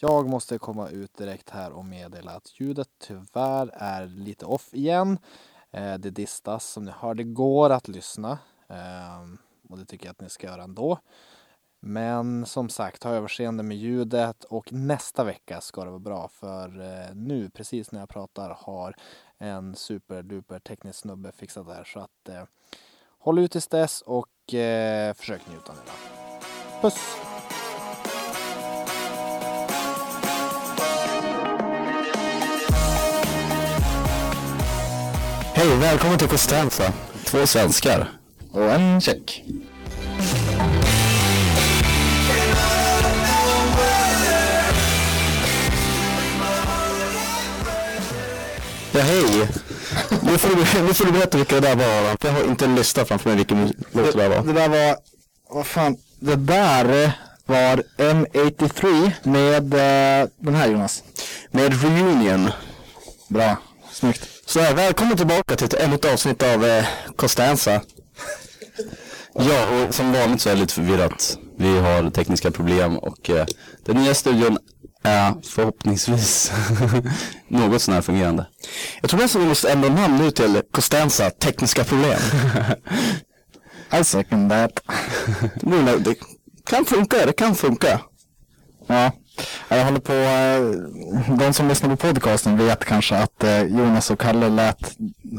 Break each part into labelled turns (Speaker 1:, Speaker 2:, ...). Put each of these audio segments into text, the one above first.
Speaker 1: Jag måste komma ut direkt här och meddela att ljudet tyvärr är lite off igen. Eh, Det distas som ni hör. Det går att lyssna ehm, och det tycker jag att ni ska göra ändå. Men som sagt, ha överseende med ljudet och nästa vecka ska det vara bra för eh, nu precis när jag pratar har en superduper teknisk snubbe fixat det här så att eh, håll ut tills dess och eh, försök njuta nu då. Puss!
Speaker 2: Hej, välkommen till Costanza. Två svenskar. Och en tjeck. Ja, hej. Nu får, du, nu får du berätta vilka det där var. För jag har inte en lista framför mig vilken låt det där var.
Speaker 3: Det där var, vad fan, det där var M83 med eh, den här Jonas.
Speaker 2: Med Reunion.
Speaker 3: Bra, snyggt.
Speaker 2: Så här, välkommen tillbaka till ett- ännu ett avsnitt av eh, Costanza. Ja, och som vanligt så är det lite förvirrat. Vi har tekniska problem och eh, den nya studion är förhoppningsvis något sånär fungerande.
Speaker 3: Jag tror nästan vi måste ändra namn nu till Costanza, tekniska problem. I second that.
Speaker 2: Nu när det kan funka, det kan funka.
Speaker 3: Ja, jag håller på, eh, de som lyssnar på podcasten vet kanske att eh, Jonas och Kalle lät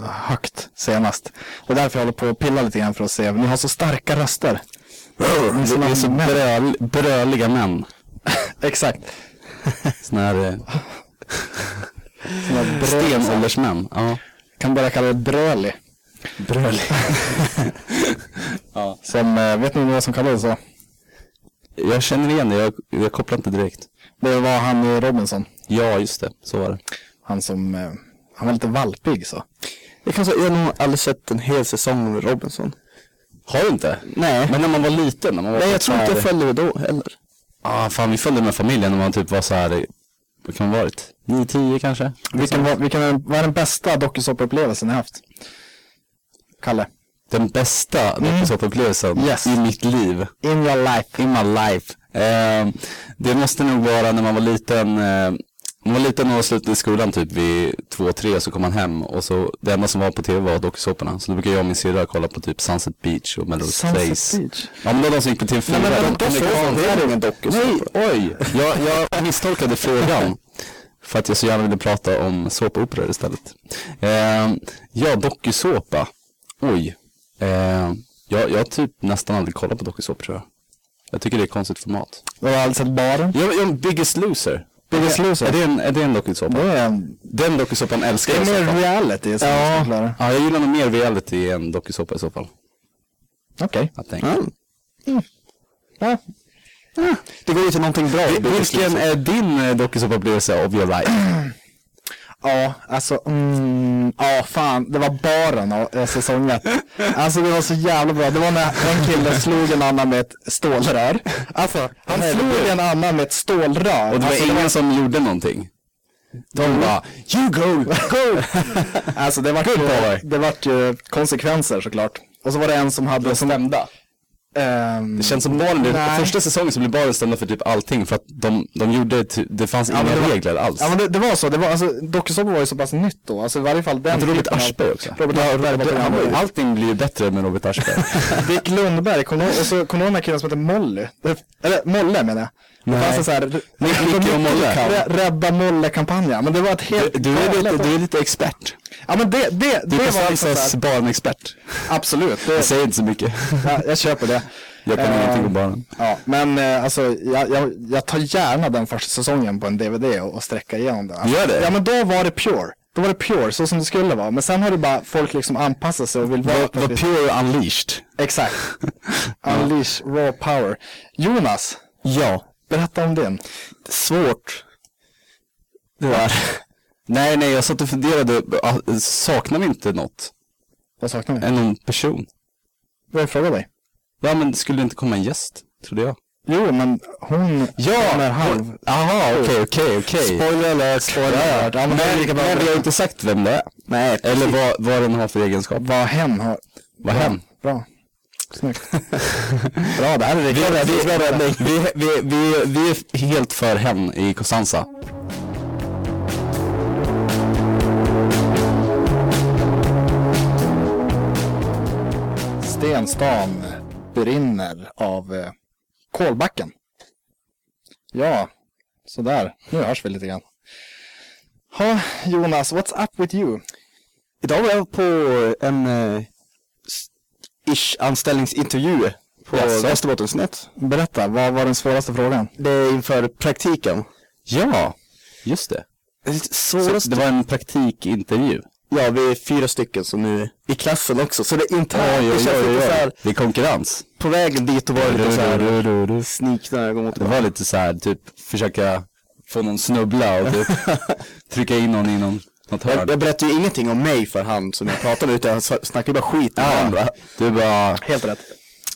Speaker 3: högt senast. Det är därför jag håller på att pilla lite grann för att se, ni har så starka röster.
Speaker 2: Vi är så bröl, bröliga män.
Speaker 3: Exakt.
Speaker 2: Såna här eh,
Speaker 3: Såna brö-
Speaker 2: stenåldersmän. Ja.
Speaker 3: Kan bara kalla det bröli.
Speaker 2: Brölig.
Speaker 3: Som, eh, vet ni vad som kallades så?
Speaker 2: Jag känner igen det, jag, jag kopplar inte direkt.
Speaker 3: Det var han i Robinson.
Speaker 2: Ja, just det. Så var det.
Speaker 3: Han som, eh, han var lite valpig så.
Speaker 4: Jag kan säga, jag har nog aldrig sett en hel säsong med Robinson.
Speaker 2: Har du inte? Nej. Men när man var liten? När man var
Speaker 4: Nej, jag tror inte jag
Speaker 2: följde.
Speaker 4: följde det då heller.
Speaker 2: Ah, fan, vi följde med familjen när man typ var så här. Vad kan man varit? 9-10 kanske?
Speaker 3: Vilken var, vilken var den bästa dokusåpaupplevelsen ni haft? Kalle?
Speaker 2: Den bästa dokusåpaupplevelsen
Speaker 3: Yes.
Speaker 2: i mitt liv.
Speaker 3: In your life.
Speaker 2: In my life. Eh, det måste nog vara när man var liten. Eh, när man var liten och slutade i skolan typ vid 2-3 så kom man hem och så det enda som var på tv var dokusåporna. Så då brukar jag och min syrra kolla på typ Sunset Beach och Melrose Place.
Speaker 4: Beach.
Speaker 2: Ja men då de som gick på TV4.
Speaker 4: Nej, men vänta,
Speaker 2: de-
Speaker 4: så-
Speaker 2: amerikanska-
Speaker 4: det är ingen dokusåpa.
Speaker 2: Nej, oj. Jag, jag misstolkade frågan. För att jag så gärna ville prata om såpoperor istället. Eh, ja, dokusåpa. Oj. Eh, jag, jag har typ nästan aldrig kollat på dokusåpor tror jag. Jag tycker det är ett konstigt format.
Speaker 3: Det var alltså baren.
Speaker 2: Jag, jag, Biggest Loser.
Speaker 3: Biggest
Speaker 2: Är
Speaker 3: Loser.
Speaker 2: det en, är det en dokusåpa?
Speaker 3: Det är, en-
Speaker 2: Den dokusåpan älskar
Speaker 3: det
Speaker 2: jag i så
Speaker 3: är mer
Speaker 2: fall.
Speaker 3: reality som
Speaker 2: Ja.
Speaker 3: vi ska klara.
Speaker 2: Ja, jag gillar nog mer reality än dokusåpa i så fall.
Speaker 3: Okej.
Speaker 2: Jag tänker.
Speaker 4: Mm.
Speaker 3: Ja.
Speaker 4: Det går ju till någonting bra.
Speaker 2: Vil- Vilken är din eh, dokusåpaupplevelse of your life?
Speaker 3: Ja, alltså, mm, ja fan, det var baren och eh, säsong ett. Alltså det var så jävla bra. Det var när en kille slog en annan med ett stålrör. Alltså, han slog en annan med ett stålrör.
Speaker 2: Och det var
Speaker 3: alltså,
Speaker 2: ingen som gjorde någonting. De bara, you go, go!
Speaker 3: Alltså det vart, ju,
Speaker 2: boy.
Speaker 3: det vart ju konsekvenser såklart. Och så var det en som hade... Som,
Speaker 2: Stämda.
Speaker 3: ehm,
Speaker 2: Det känns som barnen, blev-
Speaker 3: Nej.
Speaker 2: första säsongen så blev barnen stämda för typ allting för att de, de gjorde, ty- det fanns inga
Speaker 3: men det var-
Speaker 2: regler alls.
Speaker 3: ja men det, det var så, det var, alltså, dokusåpor var ju så pass nytt då. Alltså i varje fall den...
Speaker 2: Inte Robert
Speaker 3: typen av-
Speaker 2: Aschberg också?
Speaker 3: Robert Aschberg
Speaker 2: Det- han
Speaker 3: var
Speaker 2: var ju-
Speaker 3: programledare.
Speaker 2: Allting blir ju bättre med Robert Aschberg.
Speaker 3: Dick Lundberg, kommer du ihåg- och så kommer du ihåg den här killen som heter Molly? Det- Eller Molle menar jag. Det fanns en sån här...
Speaker 2: Micke och Molle.
Speaker 3: Rä- Rädda Molle-kampanjen. Men det var ett helt...
Speaker 2: Du är lite,
Speaker 3: galet-
Speaker 2: du är lite expert.
Speaker 3: Ja men det, det,
Speaker 2: Du
Speaker 3: det
Speaker 2: är
Speaker 3: var alltså
Speaker 2: Costanzas
Speaker 3: såhär...
Speaker 2: barnexpert.
Speaker 3: Absolut.
Speaker 2: Jag
Speaker 3: Det,
Speaker 2: säger inte så mycket.
Speaker 3: ja, jag köper det.
Speaker 2: Jag kan
Speaker 3: Eh,
Speaker 2: ingenting om barnen.
Speaker 3: Ja, men eh, alltså jag, jag, jag tar gärna den första säsongen på en DVD och, och sträcka igenom den.
Speaker 2: Gör det?
Speaker 3: Ja, men då var det pure. Då var det pure, så som det skulle vara. Men sen har det bara folk liksom anpassat sig och vill vara...
Speaker 2: Var, var pure unleashed.
Speaker 3: Exakt. Unleash raw power. Jonas,
Speaker 4: Ja,
Speaker 3: berätta om din.
Speaker 4: svårt. Det där.
Speaker 2: Nej, nej, jag satt och funderade. ah, Saknar vi inte något?
Speaker 3: Vad saknar vi?
Speaker 2: Än någon person?
Speaker 3: Vad jag frågar dig?
Speaker 2: Ja, men skulle det inte komma en gäst? Trodde jag.
Speaker 3: Jo, men hon...
Speaker 2: Ja,
Speaker 3: Hon är halv.
Speaker 2: Jaha, okej, okej, okej.
Speaker 3: Spoiler alert, spoiler alert. Ja, men, det är
Speaker 2: Men,
Speaker 3: lika bra
Speaker 2: men
Speaker 3: att
Speaker 2: vi har
Speaker 3: berätta
Speaker 2: inte sagt vem det är.
Speaker 4: Nej,
Speaker 2: Eller vad, vad den har för egenskap.
Speaker 3: vad hen har.
Speaker 2: Vad hen?
Speaker 3: Bra. Snyggt.
Speaker 2: Bra, det här är vi, vi, vi, vi, vi, vi är helt för hem i Costanza.
Speaker 3: Stenstan brinner av eh, kolbacken. Ja, sådär. Nu hörs vi lite grann. Ha, Jonas, what's up with you?
Speaker 4: Idag var jag på en eh, s- ish anställningsintervju på
Speaker 3: Jaså?
Speaker 4: Västerbottensnät.
Speaker 3: Berätta, vad var den svåraste frågan?
Speaker 4: Det är inför praktiken.
Speaker 2: Ja, just det.
Speaker 4: Det är
Speaker 2: Så
Speaker 4: Svårast.
Speaker 2: det var en praktikintervju.
Speaker 4: Ja, vi är fyra stycken som nu är i klassen också, så det är internt.
Speaker 2: Oj,
Speaker 4: Det
Speaker 2: oj,
Speaker 4: känns
Speaker 2: oj,
Speaker 4: lite så
Speaker 2: oj.
Speaker 4: här,
Speaker 2: Det är konkurrens.
Speaker 4: på vägen dit och var lite så här sneak när jag går mot
Speaker 2: Det var lite så här, typ försöka få någon snubbla och typ trycka in någon i någon, något
Speaker 4: jag,
Speaker 2: hörn.
Speaker 4: jag berättade ju ingenting om mig för han som jag pratade med, utan jag s- snackade bara skit om andra.
Speaker 2: Du bara,
Speaker 4: Helt rätt.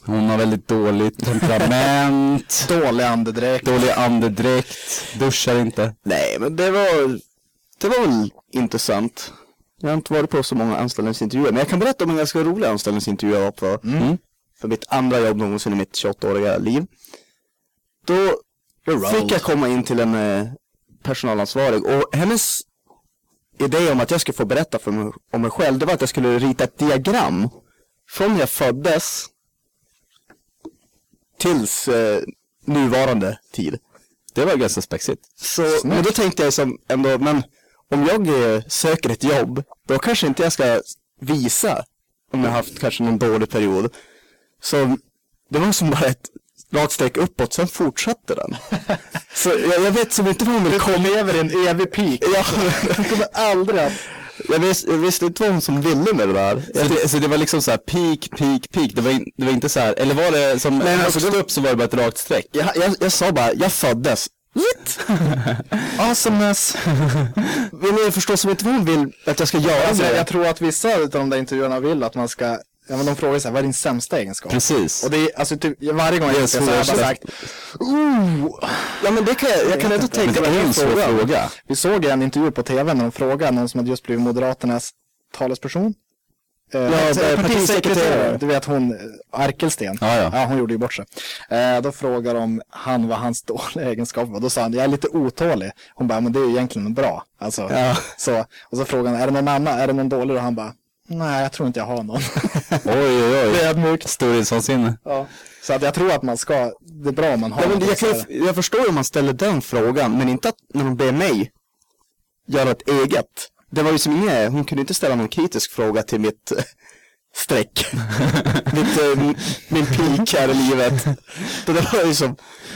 Speaker 2: hon har väldigt dåligt temperament,
Speaker 3: Dålig andedräkt.
Speaker 2: dålig andedräkt, duschar inte.
Speaker 4: Nej, men det var, det var väl intressant. Jag har inte varit på så många anställningsintervjuer, men jag kan berätta om en ganska rolig anställningsintervju jag var på. Mm. För mitt andra jobb någonsin i mitt 28-åriga liv. Då fick jag komma in till en eh, personalansvarig och hennes idé om att jag skulle få berätta för mig, om mig själv, det var att jag skulle rita ett diagram. Från när jag föddes tills eh, nuvarande tid.
Speaker 2: Det var ganska spexigt.
Speaker 4: Så, men då tänkte jag som ändå, men om jag eh, söker ett jobb, då kanske inte jag ska visa om jag har haft kanske någon dålig period. Så det var som bara ett rakt streck uppåt, sen fortsatte den. Så jag, jag vet som inte vad hon ville komma över en evig peak. Ja, jag kommer aldrig att... Jag, vis, jag visste inte vad hon som ville med det där.
Speaker 2: Så det, så det var liksom så här peak, peak, peak. Det var, in, det var inte så här, eller var det som
Speaker 4: men
Speaker 2: högst
Speaker 4: alltså, det-
Speaker 2: upp så var det bara ett rakt streck.
Speaker 4: Jag, jag, jag sa bara, jag föddes. What? Awesomeness. Vill ni förstå som inte vad hon vill att jag ska göra
Speaker 3: Alltså,
Speaker 4: med det?
Speaker 3: jag tror att vissa av de där intervjuerna vill att man ska, ja men de frågar så här, vad är din sämsta egenskap?
Speaker 2: Precis.
Speaker 3: Och det är, alltså typ, varje gång jag
Speaker 2: Det är
Speaker 3: yes, så har jag bara
Speaker 2: svårt.
Speaker 3: sagt,
Speaker 4: Ja men det kan jag, jag kan ändå
Speaker 2: Men
Speaker 4: tänka
Speaker 2: det
Speaker 4: mig
Speaker 2: är en svår
Speaker 4: fråga.
Speaker 2: fråga.
Speaker 3: Vi såg en intervju på tv när de frågade någon som hade just blivit Moderaternas talesperson. Eh,
Speaker 4: partisekreterare.
Speaker 3: Du vet hon, eh, Arkelsten.
Speaker 2: Ja, ja.
Speaker 3: hon gjorde ju bort sig. Eh, då frågade de han vad hans dåliga egenskap var. Då sa han, jag är lite otålig. Hon bara, men det är ju egentligen bra. Alltså,
Speaker 4: Ja.
Speaker 3: så, och så frågade han, är det någon annan, är det någon dålig? Och han bara, nej jag tror inte jag har någon.
Speaker 2: Oj, oj, oj.
Speaker 3: det är mjukt.
Speaker 2: Storhetsvansinne.
Speaker 3: Ja. Så att jag tror att man ska, det är bra om man har
Speaker 4: Ja, men
Speaker 3: något
Speaker 4: jag, kan,
Speaker 3: så här.
Speaker 4: ju- jag förstår ju om man ställer den frågan, men inte att när de ber mig göra ett eget. Det var ju som inget, hon kunde inte ställa någon kritisk fråga till mitt eh, streck. mitt, eh, m- min peak här i livet. Så det var ju som,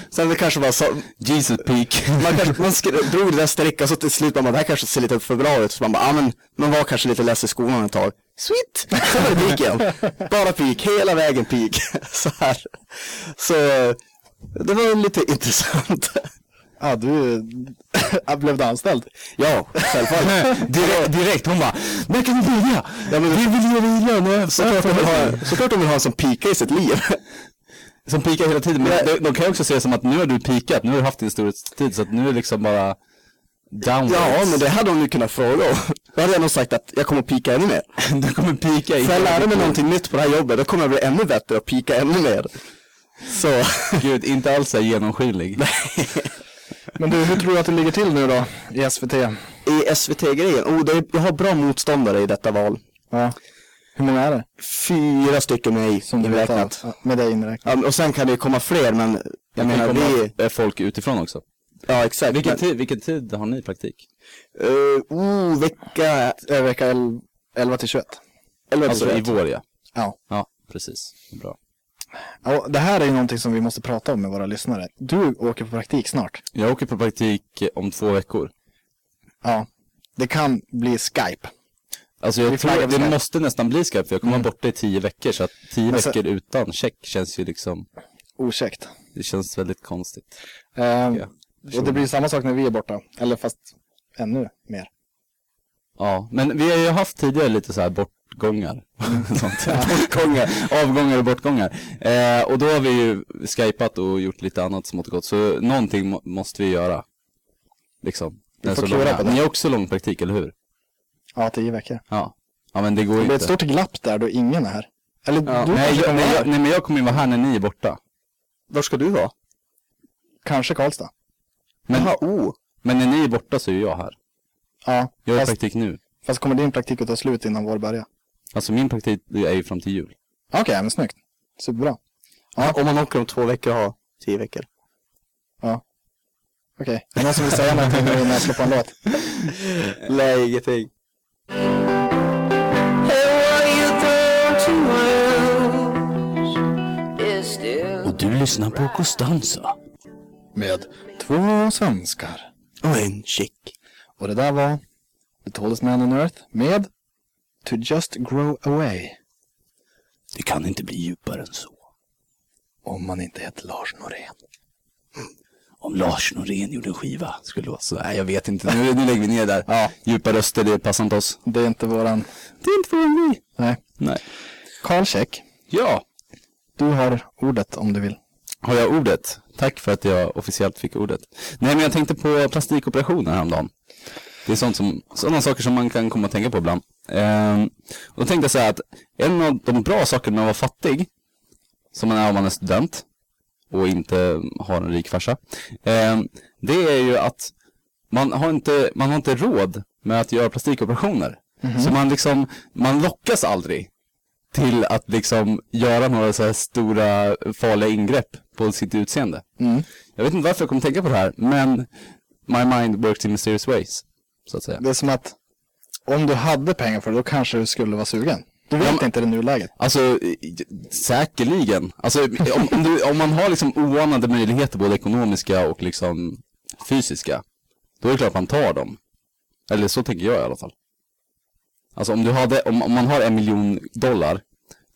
Speaker 4: sen det kanske var så,
Speaker 2: Jesus peak.
Speaker 4: man, kanske, man skre- drog det där strecket så till slut man bara, det här kanske ser lite för bra ut. Så man bara, ah, men man var kanske lite less i skolan ett tag. Sweet! Så var det peaken. Bara peak, hela vägen peak. Så här. Så eh, det var lite intressant.
Speaker 3: Ja, du jag blev du anställd.
Speaker 4: Ja, självfallet.
Speaker 2: direkt, direkt, hon bara, när kan vi börja?
Speaker 4: Ja, men, vi vill ge dig lön såklart, de vill ha- såklart de vill ha en som pikar i sitt liv.
Speaker 2: Som peakar hela tiden, men
Speaker 4: Nej.
Speaker 2: de, de kan ju också se som att nu har du peakat, nu har du haft din storhetstid, så att nu är det liksom bara downwards.
Speaker 4: Ja, men det hade de ju kunnat fråga om. Då hade jag nog sagt att jag kommer pika ännu mer.
Speaker 2: Du kommer peaka i...
Speaker 4: För jag lärde mig någonting nytt på det här jobbet, då kommer jag bli ännu bättre och pika ännu mer. Så.
Speaker 2: Gud, inte alls så här genomskinlig.
Speaker 3: Men du, hur tror du att du ligger till nu då i SVT?
Speaker 4: i SVT-grejen. Oh, det är, jag har bra motståndare i detta val.
Speaker 3: Ja. Hur många är det?
Speaker 4: Fyra stycken med mig
Speaker 3: Som du vet
Speaker 4: inräknat.
Speaker 3: av. Ja, Med dig inräknat.
Speaker 4: Ja, men- och sen kan det ju komma fler, men jag menar vi...
Speaker 2: är folk utifrån också.
Speaker 4: Ja, exakt.
Speaker 2: Vilken
Speaker 4: Men,
Speaker 2: tid, vilken tid har ni praktik?
Speaker 4: eh, oh, vecka...
Speaker 3: Eh, Vecka 11, 11 till 21.
Speaker 4: Eller
Speaker 2: Alltså i vår, ja.
Speaker 3: Ja.
Speaker 2: Ja, precis. Bra.
Speaker 3: ja. Det här är ju någonting som vi måste prata om med våra lyssnare. Du åker på praktik snart.
Speaker 2: Jag åker på praktik eh, om två veckor.
Speaker 3: Ja. Det kan bli Skype.
Speaker 2: Alltså
Speaker 3: Vi
Speaker 2: jag tror
Speaker 3: flaggar
Speaker 2: att
Speaker 3: för
Speaker 2: det
Speaker 3: Skype.
Speaker 2: måste nästan bli Skype, för jag kommer vara borta i tio veckor, så att tio
Speaker 3: Mm. Men så-
Speaker 2: veckor utan check känns ju liksom,
Speaker 3: Okäckt.
Speaker 2: det känns väldigt konstigt.
Speaker 3: Ehm,
Speaker 2: Ja,
Speaker 3: och det blir samma sak när vi är borta. Eller fast ännu mer.
Speaker 2: Ja, men vi har ju haft tidigare lite så här bortgångar.
Speaker 3: Mm.
Speaker 2: Sånt. bortgångar, avgångar och bortgångar. Eh, och då har vi ju skypat och gjort lite annat smått och gott. Så någonting må- måste vi göra. Liksom.
Speaker 3: Vi
Speaker 2: Den
Speaker 3: får
Speaker 2: så
Speaker 3: klura
Speaker 2: långa.
Speaker 3: på det.
Speaker 2: Ni har också lång praktik, eller hur?
Speaker 3: Ja, tio veckor.
Speaker 2: Ja. Ja, men det går
Speaker 3: Det
Speaker 2: ju
Speaker 3: blir ett
Speaker 2: inte.
Speaker 3: stort glapp där då ingen är här. Eller
Speaker 4: Ja,
Speaker 3: du
Speaker 2: Nej,
Speaker 3: kanske
Speaker 2: jag,
Speaker 3: kommer
Speaker 2: nej,
Speaker 3: vara
Speaker 2: jag,
Speaker 3: där.
Speaker 2: nej, men jag kommer ju vara här när ni är borta.
Speaker 4: Var ska du vara?
Speaker 3: Kanske Karlstad.
Speaker 2: Men,
Speaker 4: Jaha, oh.
Speaker 2: men när ni är borta så är ju jag här.
Speaker 3: Ja,
Speaker 2: Jag har
Speaker 3: fast,
Speaker 2: praktik nu.
Speaker 3: fast kommer din praktik att ta slut innan vår börjar?
Speaker 2: Alltså min praktik är ju fram till jul.
Speaker 3: Okej, men snyggt. Superbra.
Speaker 4: Om man åker om två veckor och har tio veckor.
Speaker 3: Okej, är det någon som vill säga någonting nu innan jag slår på en låt?
Speaker 4: Nej, ingenting.
Speaker 2: Och du lyssnar på Costanza.
Speaker 3: Med två svenskar.
Speaker 4: Och en chick.
Speaker 3: Och det där var The Tallest Man on Earth med To Just Grow Away.
Speaker 2: Det kan inte bli djupare än så.
Speaker 3: Om man inte heter Lars Norén.
Speaker 2: Om Lars Norén gjorde en skiva skulle det vara så. Nej, jag vet inte. Nu, nu lägger vi ner där. Ja. Djupa röster, det passar inte oss.
Speaker 3: Det är inte våran...
Speaker 2: Det är inte för vi.
Speaker 3: Nej.
Speaker 2: Nej.
Speaker 3: Karl Käck,
Speaker 2: Ja,
Speaker 3: du har ordet om du vill.
Speaker 2: har jag ordet. Tack för att jag officiellt fick ordet. Nej, men jag tänkte på plastikoperationer häromdagen. Det är sånt som, sådana saker som man kan komma att tänka på ibland. Ehm, och då tänkte jag säga att en av de bra sakerna med att vara fattig, som man är om man är student och inte har en rik farsa, ehm, det är ju att man har, inte, man har inte råd med att göra plastikoperationer. Så man liksom, man lockas aldrig till att liksom göra några så här stora farliga ingrepp på sitt utseende. Jag vet inte varför jag kom att tänka på det här, men my mind works in mysterious ways, så att säga.
Speaker 3: Det är som att om du hade pengar för det, då kanske du skulle vara sugen. Du vet inte det i nuläget.
Speaker 2: Alltså, i- i- säkerligen. Alltså, om, om, du, om man har liksom oanade möjligheter, både ekonomiska och liksom fysiska, då är det klart man tar dem. Eller så tänker jag i alla fall. Alltså om du hade, om, om man har en miljon dollar,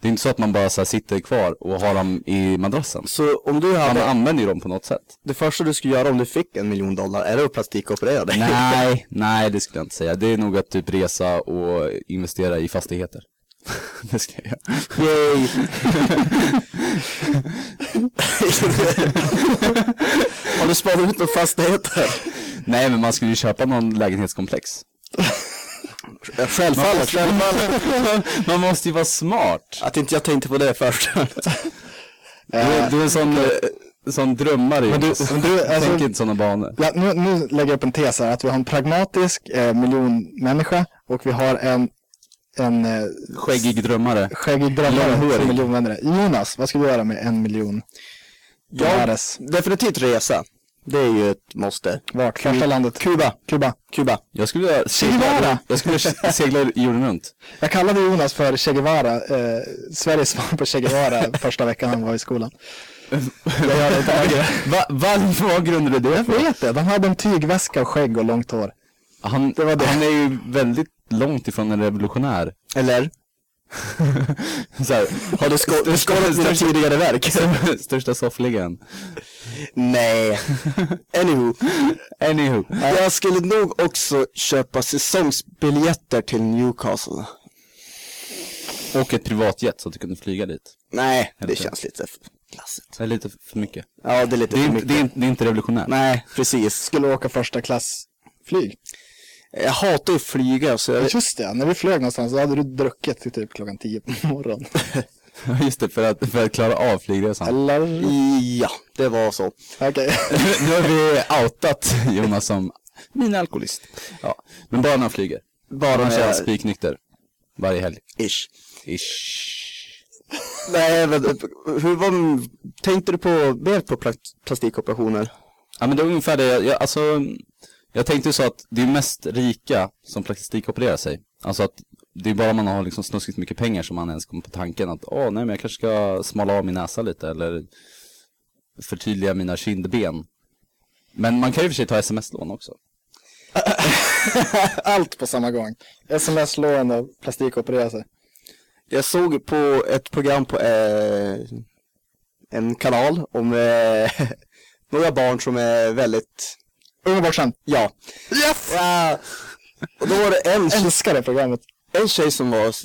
Speaker 2: det är inte så att man bara så här sitter kvar och har dem i madrassen.
Speaker 4: Så om du
Speaker 2: Man
Speaker 4: hade,
Speaker 2: använder ju dem på något sätt.
Speaker 4: det första du skulle göra om du fick en miljon dollar, är det att plastikoperera dig?
Speaker 2: Nej, nej det skulle jag inte säga. Det är nog att typ resa och investera i fastigheter. det ska jag göra.
Speaker 4: Yay! Har du sparat ut några fastigheter?
Speaker 2: Nej, men man skulle ju köpa någon lägenhetskomplex.
Speaker 4: Självfallet, självfallet.
Speaker 2: Man måste ju vara smart.
Speaker 4: Att inte jag tänkte på det först.
Speaker 2: Du, är- du är en sån, eh, sån drömmare men
Speaker 3: du- men du, alltså-
Speaker 2: Tänk inte sådana banor.
Speaker 3: Ja, nu, nu lägger jag upp en tes här, att vi har en pragmatisk eh, miljonmänniska och vi har en, en eh,
Speaker 2: Skäggig drömmare.
Speaker 3: skäggig drömmare
Speaker 2: Långhårig.
Speaker 3: som miljonvändare. Jonas, vad ska du göra med en miljon?
Speaker 4: Ja,
Speaker 3: Dolares.
Speaker 4: definitivt resa. Det är ju ett måste.
Speaker 3: Vart? Första landet?
Speaker 4: Kuba.
Speaker 3: Kuba.
Speaker 4: Kuba.
Speaker 2: Jag skulle vilja segla,
Speaker 3: Guevara.
Speaker 2: jag skulle vilja segla jorden runt.
Speaker 3: Jag kallade Jonas för Che Guevara, eh, Sveriges svar på Che Guevara första veckan han var i skolan.
Speaker 2: Jag gör det Va, va, vad grundar du det
Speaker 3: Jag
Speaker 2: för?
Speaker 3: vet det, han hade en tygväska och skägg och långt hår.
Speaker 2: Han,
Speaker 3: var det.
Speaker 2: han är ju väldigt långt ifrån en revolutionär.
Speaker 4: Eller?
Speaker 2: Så här,
Speaker 4: Har du sko- du skådat mina tidigare verk?
Speaker 2: Största soffligan.
Speaker 4: Nej. Anywho.
Speaker 2: Anywho.
Speaker 4: Jag skulle nog också köpa säsongsbiljetter till Newcastle.
Speaker 2: Och ett privatjet så att du kunde flyga dit.
Speaker 4: Nej, det känns lite f- glassigt.
Speaker 2: Det är lite för mycket.
Speaker 4: Ja, det är lite
Speaker 2: Det är inte,
Speaker 4: för mycket.
Speaker 2: det är inte, det är inte revolutionärt.
Speaker 4: Nej, precis.
Speaker 3: Skulle åka första klass flyg.
Speaker 4: Jag hatar ju att flyga så jag...
Speaker 3: Just det, när vi flög någonstans så hade du druckit till typ klockan tio på morgonen.
Speaker 2: Just det, för att, för att klara av flygresan.
Speaker 3: Eller?
Speaker 4: Ja, det var så.
Speaker 3: Okej.
Speaker 2: nu har vi outat Jonas som min alkoholist. Ja, men bara när han flyger.
Speaker 4: Bara
Speaker 2: Han
Speaker 4: när jag-
Speaker 2: känns spiknykter. Varje helg.
Speaker 4: Ish.
Speaker 2: Ish.
Speaker 4: Nej, men hur var... Tänkte du på mer på pla- plastikoperationer?
Speaker 2: Ja men det är ungefär det, jag, jag, alltså Jag tänkte ju så att det är mest rika som plastikopererar sig Alltså att det är bara om man har liksom snuskigt mycket pengar som man ens kommer på tanken att åh nej men jag kanske ska smala av min näsa lite eller förtydliga mina kindben Men man kan ju i och för sig ta sms-lån också
Speaker 3: Allt på samma gång. Sms-lån och plastikoperera sig.
Speaker 4: Jag såg på ett program på eh, en kanal om eh, några barn som är väldigt...
Speaker 3: Ung bortskämd.
Speaker 4: Ja.
Speaker 3: Yes!
Speaker 4: Ja. Och då var det en,
Speaker 3: Älskar det programmet.
Speaker 4: en tjej som var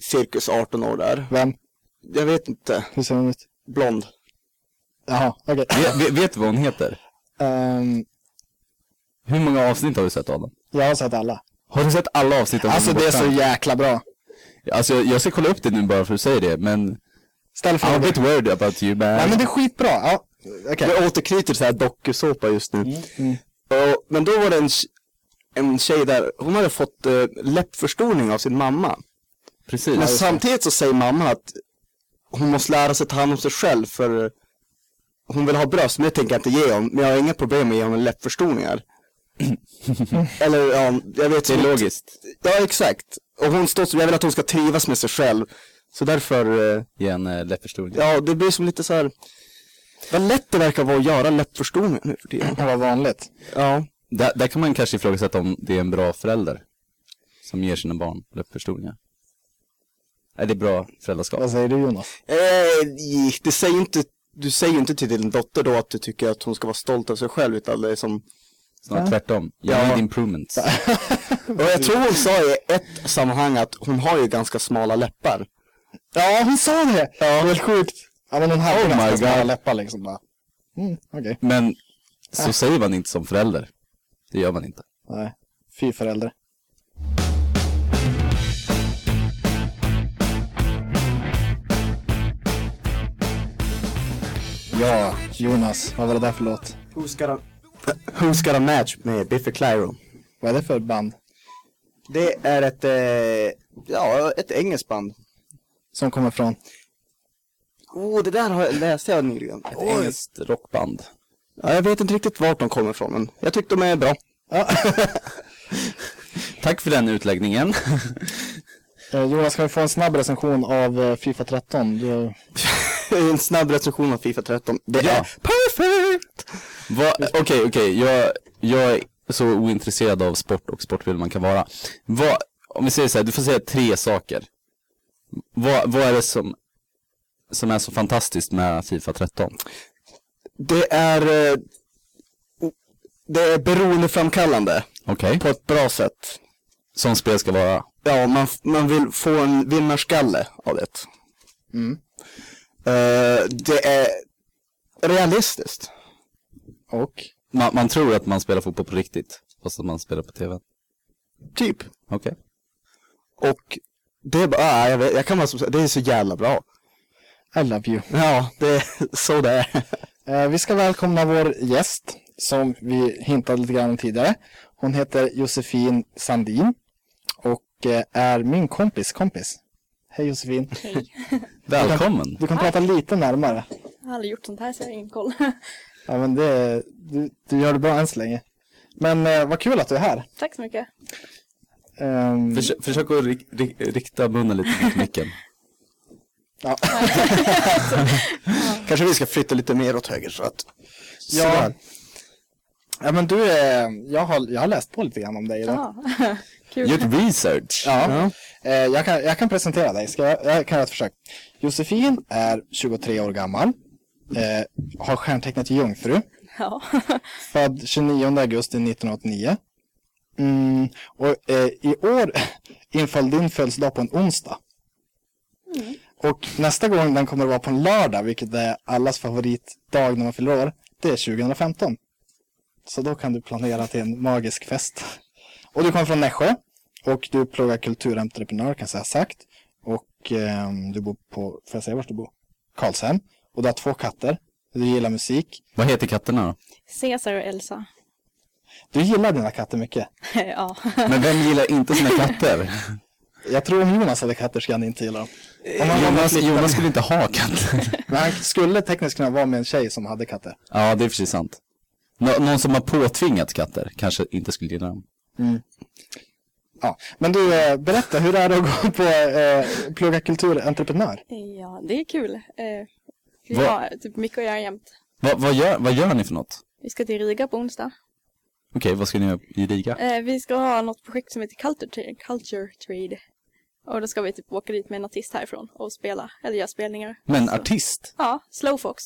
Speaker 4: cirkus 18 år där.
Speaker 3: Vem?
Speaker 4: Jag vet inte.
Speaker 3: Hur ser hon ut?
Speaker 4: Blond.
Speaker 3: Jaha, okej.
Speaker 2: Ve- ve- Vet du vad hon heter?
Speaker 3: Ehm,
Speaker 2: Hur många avsnitt har du sett av den?
Speaker 3: jag har sett alla.
Speaker 2: Har du sett alla avsnitt av
Speaker 3: Alltså
Speaker 2: Ung och
Speaker 3: det är så
Speaker 2: bortskämd?
Speaker 3: jäkla bra.
Speaker 2: Alltså jag, jag ska kolla upp det nu bara för att säga det, men
Speaker 3: Ställ
Speaker 2: I'm a
Speaker 3: frågan.
Speaker 2: bit worried about you man.
Speaker 3: Nej men det är skitbra. Ja, okej.
Speaker 4: Jag återknyter till så här dokusåpa just nu. Och, men då var det en, tj- en tjej där, hon hade fått eh, läppförstoring av sin mamma.
Speaker 2: Precis.
Speaker 4: Men samtidigt så säger mamman att hon måste lära sig ta hand om sig själv för hon vill ha bröst, men det tänker jag inte ge hon. Men jag har inga problem med att ge hon läppförstoringar. Eller ja, jag vet
Speaker 2: det är
Speaker 4: inte.
Speaker 2: logiskt.
Speaker 4: Ja, exakt. Och hon står så, jag vill att hon ska trivas med sig själv. Så därför, eh,
Speaker 2: I en äh, läppförstoring.
Speaker 4: ja, det blir som lite så här. Vad lätt det verkar vara att göra läppförstoringar nu för tiden.
Speaker 3: Det var vanligt.
Speaker 4: Ja.
Speaker 2: Där, där kan man kanske ifrågasätta om det är en bra förälder som ger sina barn läppförstoringar. Är det bra föräldraskap?
Speaker 3: Vad säger du Jonas?
Speaker 4: Eh, det säger inte, du säger ju inte till din dotter då att du tycker att hon ska vara stolt över sig själv, utan det är som
Speaker 2: Snarare tvärtom. You
Speaker 4: Ja.
Speaker 2: need improvements.
Speaker 4: Och jag tror hon sa i ett sammanhang att hon har ju ganska smala läppar.
Speaker 3: Ja, hon sa det! Ja. Det är helt sjukt. Ja, men hon hade
Speaker 2: Oh my
Speaker 3: ganska smala
Speaker 2: God.
Speaker 3: läppar liksom bara. Mm, okej.
Speaker 2: Men så säger man inte som förälder. Det gör man inte.
Speaker 3: Nej. Fy förälder. Ja, Jonas, vad var det där för låt?
Speaker 4: Who's got a, who's got a match med Biffy Clyro?
Speaker 3: Vad är det för band
Speaker 4: Det är ett, eh, ja, ett engelskt band.
Speaker 3: som kommer från?
Speaker 4: Oh, det där har jag, läste jag nyligen. Ett engelskt.
Speaker 2: Engelskt rockband.
Speaker 4: Ja, jag vet inte riktigt vart de kommer ifrån, men jag tyckte de är bra.
Speaker 2: Tack för den utläggningen.
Speaker 3: Eh, Jonas, kan vi få en snabb recension av eh, Fifa 13? Du...
Speaker 4: en snabb recension av Fifa 13. Det
Speaker 2: Ja.
Speaker 4: är perfekt!
Speaker 2: Va- Okej, okej. Jag, jag är så ointresserad av sport och sportfilm man kan vara. Va, om vi säger så här, du får säga tre saker. Va, vad är det som, som är så fantastiskt med Fifa 13?
Speaker 4: Det är, eh, det är beroendeframkallande
Speaker 2: Okej.
Speaker 4: på ett bra sätt.
Speaker 2: Som spel ska vara.
Speaker 4: Ja, man, man vill få en vinnarskalle av det. Mm. Eh, det är realistiskt.
Speaker 3: Och?
Speaker 2: Man, man tror att man spelar fotboll på riktigt. Fast att man spelar på TV.
Speaker 4: Typ.
Speaker 2: Okej.
Speaker 4: Och det är bara, ah, jag, vet, jag kan bara som sagt, det är så jävla bra.
Speaker 3: I love you.
Speaker 4: Ja, det är så det är.
Speaker 3: Eh, vi ska välkomna vår gäst som vi hintade lite grann om tidigare. Hon heter Josefin Sandin och eh, är min kompis kompis. Hej Josefin.
Speaker 2: Välkommen.
Speaker 3: Du kan prata lite närmare.
Speaker 5: Jag har aldrig gjort sånt här så jag har ingen koll.
Speaker 3: Ja, men det, du, du gör det bra än så länge. Men eh, vad kul att du är här.
Speaker 5: Tack så mycket.
Speaker 3: Ehm,
Speaker 2: Försök, försök att rik, rik, rikta munnen lite mot micken.
Speaker 3: ja.
Speaker 4: Kanske vi ska flytta lite mer åt höger så att.
Speaker 3: ja. ja, men du är, jag har, jag har läst på lite grann om dig idag.
Speaker 5: Ja.
Speaker 2: Gjort research.
Speaker 3: Ja. Eh, jag, kan, jag kan presentera dig. Ska jag, jag kan göra ett försök. Josefin är 23 år gammal. Eh, har stjärntecknet jungfru.
Speaker 5: ja.
Speaker 3: Född 29 augusti 1989. Mm, och eh, i år inföll din födelsedag på en onsdag. Och nästa gång den kommer att vara på en lördag, vilket är allas favoritdag när man fyller år, det är 2015. Så då kan du planera till en magisk fest. Och du kommer från Nässjö och du pluggar kulturentreprenör kan jag säga sagt. Och ehm, du bor på, får jag säga vart du bor? Karlshem. Och du har två katter. Du gillar musik.
Speaker 2: Vad heter katterna då?
Speaker 5: Cesar och Elsa.
Speaker 3: Du gillar dina katter mycket.
Speaker 5: ja.
Speaker 2: Men vem gillar inte sina katter?
Speaker 3: Jag tror om Jonas hade katter skulle han inte gilla dem. Om han, var med,
Speaker 2: Jonas, Jonas skulle inte ha katter.
Speaker 3: men han skulle tekniskt kunna vara med en tjej som hade katter.
Speaker 2: Ja, det är precis sant. Nå- någon som har påtvingat katter kanske inte skulle gilla dem.
Speaker 3: Ja. Men du, eh, berätta, hur är det att gå på eh, plugga kulturentreprenör?
Speaker 5: ja, det är kul. Eh, vi
Speaker 2: Vad-
Speaker 5: har typ mycket att göra jämt.
Speaker 2: Va, vad, gör, vad gör ni för något?
Speaker 5: Vi ska till Riga på onsdag.
Speaker 2: Okej, vad ska ni göra i Riga?
Speaker 5: Eh, vi ska ha något projekt som heter Culture, Tra- Culture Trade. Och då ska vi typ åka dit med en artist härifrån och spela, eller göra spelningar.
Speaker 2: Men artist?
Speaker 5: Ja, Slowfox.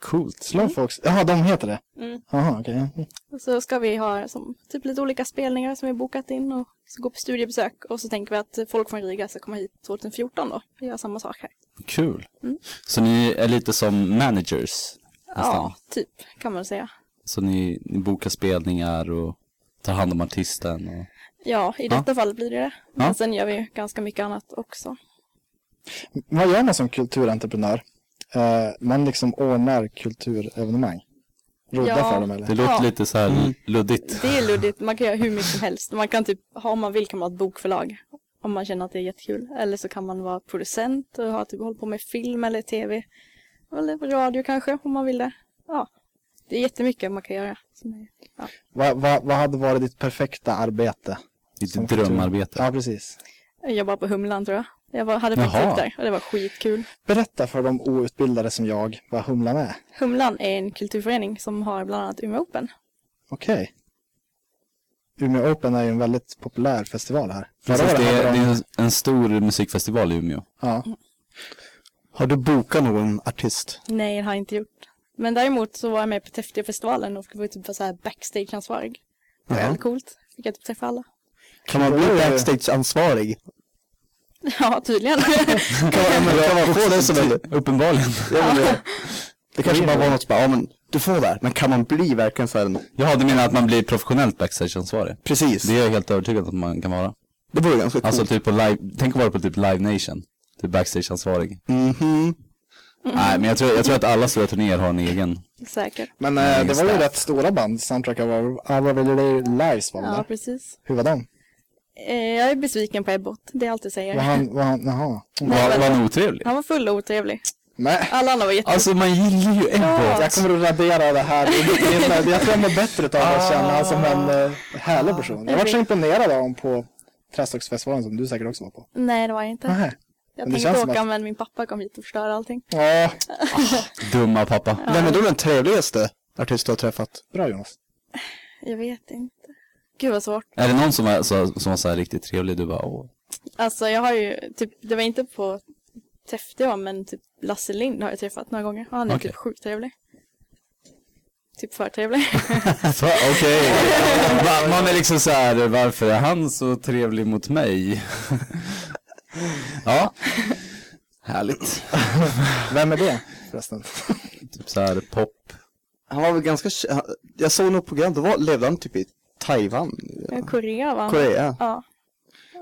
Speaker 2: Coolt.
Speaker 3: Slowfox? Jaha, de heter det?
Speaker 5: Mm.
Speaker 3: Jaha, okej.
Speaker 5: Och Så ska vi ha som, typ lite olika spelningar som vi bokat in och så gå på studiebesök. Och så tänker vi att folk från Riga ska komma hit 2014 då och göra samma sak här.
Speaker 2: Kul.
Speaker 5: Mm.
Speaker 2: Så ni är lite som managers?
Speaker 5: Ja, typ kan man säga.
Speaker 2: Så ni, ni bokar spelningar och tar hand om artisten? Och...
Speaker 5: Ja, i detta fall blir det det. Men
Speaker 2: Ja.
Speaker 5: sen gör vi ju ganska mycket annat också.
Speaker 3: Vad gör man som kulturentreprenör? Eh, man liksom ordnar kulturevenemang. Roddar
Speaker 5: Ja.
Speaker 3: för dem eller?
Speaker 2: Det låter
Speaker 5: Ja.
Speaker 2: lite så här luddigt.
Speaker 5: Det är luddigt, man kan göra hur mycket som helst. Man kan typ, ha- om man vill kan man ha ett bokförlag. Om man känner att det är jättekul. Eller så kan man vara producent och ha typ hållit på med film eller tv. Eller radio kanske, om man vill det. Ja. Det är jättemycket man kan göra. som är-
Speaker 3: Vad, vad, vad hade varit ditt perfekta arbete?
Speaker 2: Lite
Speaker 3: Som
Speaker 2: drömarbete.
Speaker 3: Ja, precis.
Speaker 5: Jag jobbade på Humlan tror jag. Jag var, hade faktiskt
Speaker 2: Jaha.
Speaker 5: upp där och det var skitkul.
Speaker 3: Berätta för de outbildade som jag vad Humlan är.
Speaker 5: Humlan är en kulturförening som har bland annat Umeå Open.
Speaker 3: Okej. Umeå Open är ju en väldigt populär festival här. Förra
Speaker 2: Precis,
Speaker 3: året
Speaker 2: det, är,
Speaker 3: hade
Speaker 2: det
Speaker 3: de-
Speaker 2: är en- en stor musikfestival i Umeå.
Speaker 3: Ja.
Speaker 4: Har du bokat någon artist?
Speaker 5: Nej, det har jag inte gjort. Men däremot så var jag med på Täfftefestivalen och var typ så här backstage-ansvarig. Det var
Speaker 4: Jaha.
Speaker 5: jävligt coolt. Fick jag typ träffa alla.
Speaker 4: Kan man bli
Speaker 3: Oj.
Speaker 4: backstage-ansvarig?
Speaker 5: Ja, tydligen.
Speaker 4: Kan man, kan man få det som en...
Speaker 2: Uppenbarligen.
Speaker 4: Jag menar, Det kanske bara var något som bara, ja men du får det här. Men kan man bli verkligen så här en...
Speaker 2: Jaha, du menar att man blir professionellt backstageansvarig?
Speaker 4: Precis.
Speaker 2: Det
Speaker 4: Det,
Speaker 2: är jag helt övertygad att man kan vara.
Speaker 4: vore ganska coolt.
Speaker 2: Alltså typ på live, tänk att vara på typ Live Nation. Typ backstageansvarig.
Speaker 4: Mhm.
Speaker 2: Nej, men jag tror, jag tror att alla stora turnéer har en egen.
Speaker 5: Säkert.
Speaker 3: Men eh, det var ju
Speaker 2: Staff.
Speaker 3: rätt stora band. Soundtrack av Available Lives var väl
Speaker 5: Ja,
Speaker 3: där.
Speaker 5: precis.
Speaker 3: Hur var de?
Speaker 5: Eh, Jag är besviken på Ebbot, det är allt jag säger.
Speaker 3: Var han, var han, jaha.
Speaker 4: Mm.
Speaker 2: Var, var han otrevlig?
Speaker 5: Han var full och otrevlig.
Speaker 3: Nej.
Speaker 5: Alla andra var jätte...
Speaker 2: Alltså man gillar ju Ebbot.
Speaker 3: Jag kommer att radera det här. i mitt minne. Jag tror jag mår bättre av
Speaker 4: Ah.
Speaker 3: att känna honom som en eh, härlig person. Jag var så imponerad av honom på Trästocksfestivalen som du säkert också var på.
Speaker 5: Nej, det var jag inte.
Speaker 3: Nej.
Speaker 5: Jag
Speaker 3: men det
Speaker 5: tänkte
Speaker 3: känns som
Speaker 5: åka
Speaker 3: att-
Speaker 5: men min pappa kom hit och förstörde allting.
Speaker 3: Ja,
Speaker 2: Dumma pappa.
Speaker 4: Vem är då den trevligaste artist du har träffat?
Speaker 3: bra Jonas.
Speaker 5: Jag vet inte. Gud vad svårt.
Speaker 2: Är det någon som var, så, som var så här riktigt trevlig? Du bara åh.
Speaker 5: Alltså jag har ju, typ, det var inte på Täfte jag, men typ Lasse Lind har jag träffat några gånger. Han är
Speaker 2: Okej.
Speaker 5: typ sjukt trevlig. Typ för trevlig.
Speaker 4: Alltså,
Speaker 2: Så, Okej. Va- Man är liksom så här, varför är han så trevlig mot mig? ja. Härligt.
Speaker 3: Vem är det förresten?
Speaker 2: Typ så här pop.
Speaker 4: Han var väl ganska... k- han- Jag såg något program, då var, levde han typ i Taiwan.
Speaker 5: Eh, Korea va?
Speaker 4: Korea.
Speaker 5: Ja.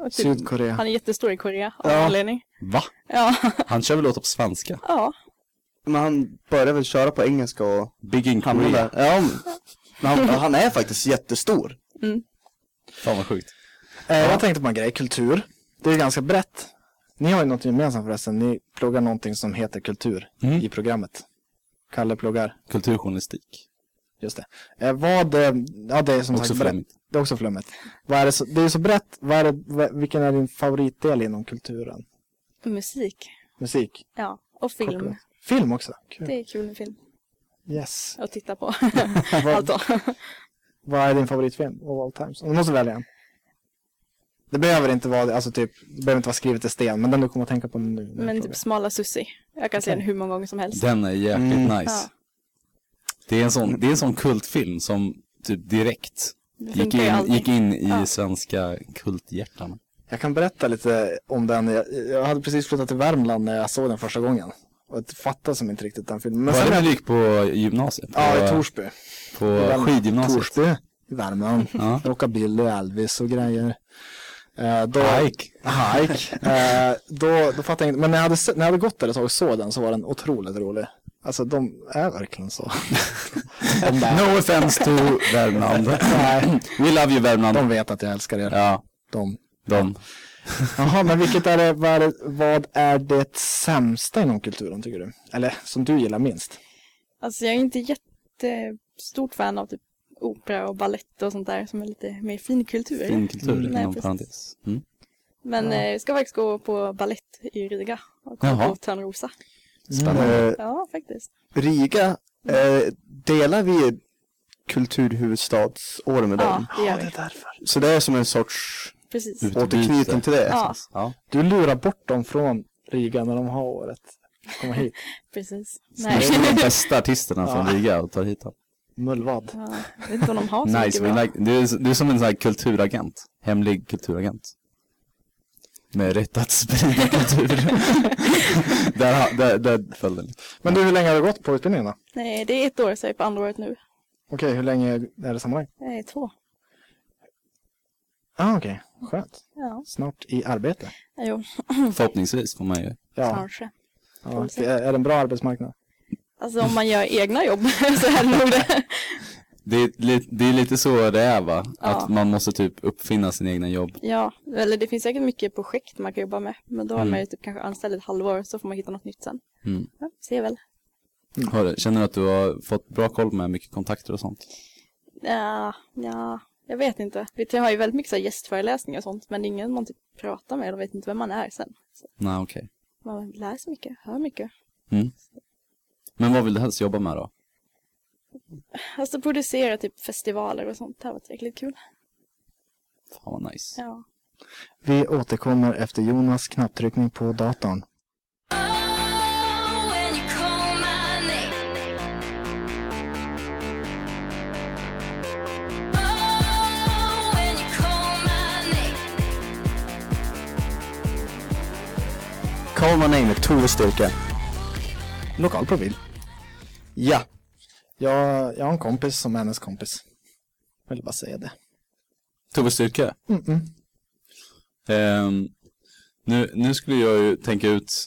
Speaker 5: Och typ,
Speaker 3: Sydkorea.
Speaker 5: han är jättestor i Korea av
Speaker 4: Ja.
Speaker 5: någon anledning.
Speaker 2: Va?
Speaker 5: Ja.
Speaker 2: Han kör väl låtar på svenska?
Speaker 5: ja.
Speaker 4: Men han började väl köra på engelska och
Speaker 2: Big in
Speaker 4: hamnade
Speaker 2: Korea.
Speaker 4: där. Ja, men han, han är faktiskt jättestor.
Speaker 2: Fan vad sjukt.
Speaker 3: Eh, jag tänkte på en grej, kultur. Det är ganska brett. Ni har ju något gemensamt förresten. Ni pluggar någonting som heter kultur i programmet. Kalle pluggar,
Speaker 2: Kulturjournalistik.
Speaker 3: just det. Eh, vad, eh, ja det är som
Speaker 2: Också
Speaker 3: sagt brett.
Speaker 2: flummigt.
Speaker 3: Det är också flummigt. Vad är det, så, det är ju så brett. Vad är det, vad- vilken är din favoritdel inom kulturen?
Speaker 5: Musik.
Speaker 3: Musik?
Speaker 5: Ja. Och film.
Speaker 3: Kopplat. Film också? Kul.
Speaker 5: Det är kul med film.
Speaker 3: Yes.
Speaker 5: Att titta på.
Speaker 3: Vad,
Speaker 5: alltså.
Speaker 3: vad är din favoritfilm of all times? Om du måste välja en. Det behöver inte vara, alltså typ, det behöver inte vara skrivet i sten, men den du kommer att tänka på nu. när jag
Speaker 5: Men
Speaker 3: frågar.
Speaker 5: typ Smala Sussi. Jag kan se den hur många gånger som helst.
Speaker 2: Den är jäkligt
Speaker 3: Mm.
Speaker 2: nice.
Speaker 5: Ja.
Speaker 2: Det, är en sån, det är en sån kultfilm som typ direkt
Speaker 5: Det
Speaker 2: gick
Speaker 5: funkar ju
Speaker 2: in,
Speaker 5: alltid.
Speaker 2: gick in i
Speaker 5: Ja.
Speaker 2: svenska kulthjärtan.
Speaker 3: Jag kan berätta lite om den. Jag, jag hade precis flyttat till Värmland när jag såg den första gången. Och jag fattade som inte riktigt den filmen. Men
Speaker 2: Var det
Speaker 3: sen,
Speaker 2: när du gick på gymnasiet?
Speaker 3: ja, i
Speaker 2: På- eh,
Speaker 3: Torsby.
Speaker 2: På skidgymnasiet?
Speaker 3: Torsby i Värmland.
Speaker 2: Ja.
Speaker 3: Åka bil och Elvis och grejer. Eh, då,
Speaker 2: Hike.
Speaker 3: Hike. Eh, då, då fattade jag inte. Men när jag hade, se- när jag hade gått där ett tag och såg den så var den otroligt rolig. Alltså de är verkligen så. de, där,
Speaker 2: No offense to Värmland. We love you Värmland.
Speaker 3: de vet att jag älskar er.
Speaker 2: Ja,
Speaker 3: De.
Speaker 2: de.
Speaker 3: Jaha, men vilket är det, vad, är det, vad är det sämsta inom kulturen tycker du? Eller som du gillar minst?
Speaker 5: Alltså jag är inte jättestort fan av typ opera och ballett och sånt där som är lite mer finkultur.
Speaker 2: Fin kultur
Speaker 5: Mm. Nej,
Speaker 2: inom
Speaker 5: precis.
Speaker 2: parentes. Mm.
Speaker 5: Men eh, jag ska faktiskt gå på ballett i Riga och kolla
Speaker 2: Jaha.
Speaker 5: på Törnrosa.
Speaker 4: Eh,
Speaker 5: Ja, faktiskt.
Speaker 4: Riga, eh, delar vi kulturhuvudstadsår med
Speaker 5: Ja,
Speaker 4: dem?
Speaker 5: det gör vi.
Speaker 3: därför.
Speaker 4: Så det är som en sorts
Speaker 5: Precis.
Speaker 2: Ut-
Speaker 4: återknytning till det?
Speaker 5: Ja,
Speaker 2: Ja.
Speaker 3: Du lurar bort dem från Riga när de har året. Komma hit.
Speaker 5: precis.
Speaker 2: Det
Speaker 5: Nej,
Speaker 2: är de bästa artisterna från Riga och tar hit dem.
Speaker 3: Mullvad.
Speaker 5: ja, jag vet inte om de har så
Speaker 2: Nice,
Speaker 5: mycket
Speaker 2: we
Speaker 5: bra.
Speaker 2: like, du, är, du är som en sån här kulturagent. Hemlig kulturagent. Med rätt att sprida kultur. där, ha- där, där föll den.
Speaker 3: Men du, hur länge har du gått på utbildningen då?
Speaker 5: Nej, det är ett år så jag är på andra året nu.
Speaker 3: Okej, hur länge är det sammanhang?
Speaker 5: Nej, två.
Speaker 3: Ah, okej. Skönt.
Speaker 5: Ja,
Speaker 3: Snart i arbete.
Speaker 5: jo,
Speaker 2: Förhoppningsvis får man ju.
Speaker 3: Ja,
Speaker 5: kanske.
Speaker 3: ja det är är det en bra arbetsmarknad?
Speaker 5: Alltså om man gör egna jobb så är det nog det.
Speaker 2: Det är, li- det är lite så det är va?
Speaker 5: Ja.
Speaker 2: Att man måste typ uppfinna sina egna jobb.
Speaker 5: Ja, eller det finns säkert mycket projekt man kan jobba med. Men då är
Speaker 3: Mm.
Speaker 5: man ju typ kanske anställd ett halvår så får man hitta något nytt sen.
Speaker 2: Mm.
Speaker 5: Ja, ser väl. Mm.
Speaker 2: Har du, känner du att du har fått bra koll med mycket kontakter och sånt?
Speaker 5: Ja, ja, jag vet inte. Vi har ju väldigt mycket så här gästföreläsningar och sånt men det är ingen man typ pratar med. De vet inte vem man är sen. Så
Speaker 2: Nej, okej.
Speaker 5: man lär sig mycket, hör mycket.
Speaker 2: Men vad vill du helst jobba med då?
Speaker 5: Alltså producera typ festivaler och sånt. Det har varit jäkligt kul.
Speaker 2: Fan vad nice.
Speaker 5: Ja.
Speaker 3: Vi återkommer efter Jonas knapptryckning på datorn.
Speaker 4: Call my name med Tove Styrka.
Speaker 3: Lokal profil.
Speaker 4: Ja.
Speaker 3: Jag, jag har en kompis som är hennes kompis. Vill bara säga det.
Speaker 2: Tove Styrke? Ehm, nu, nu skulle jag ju tänka ut,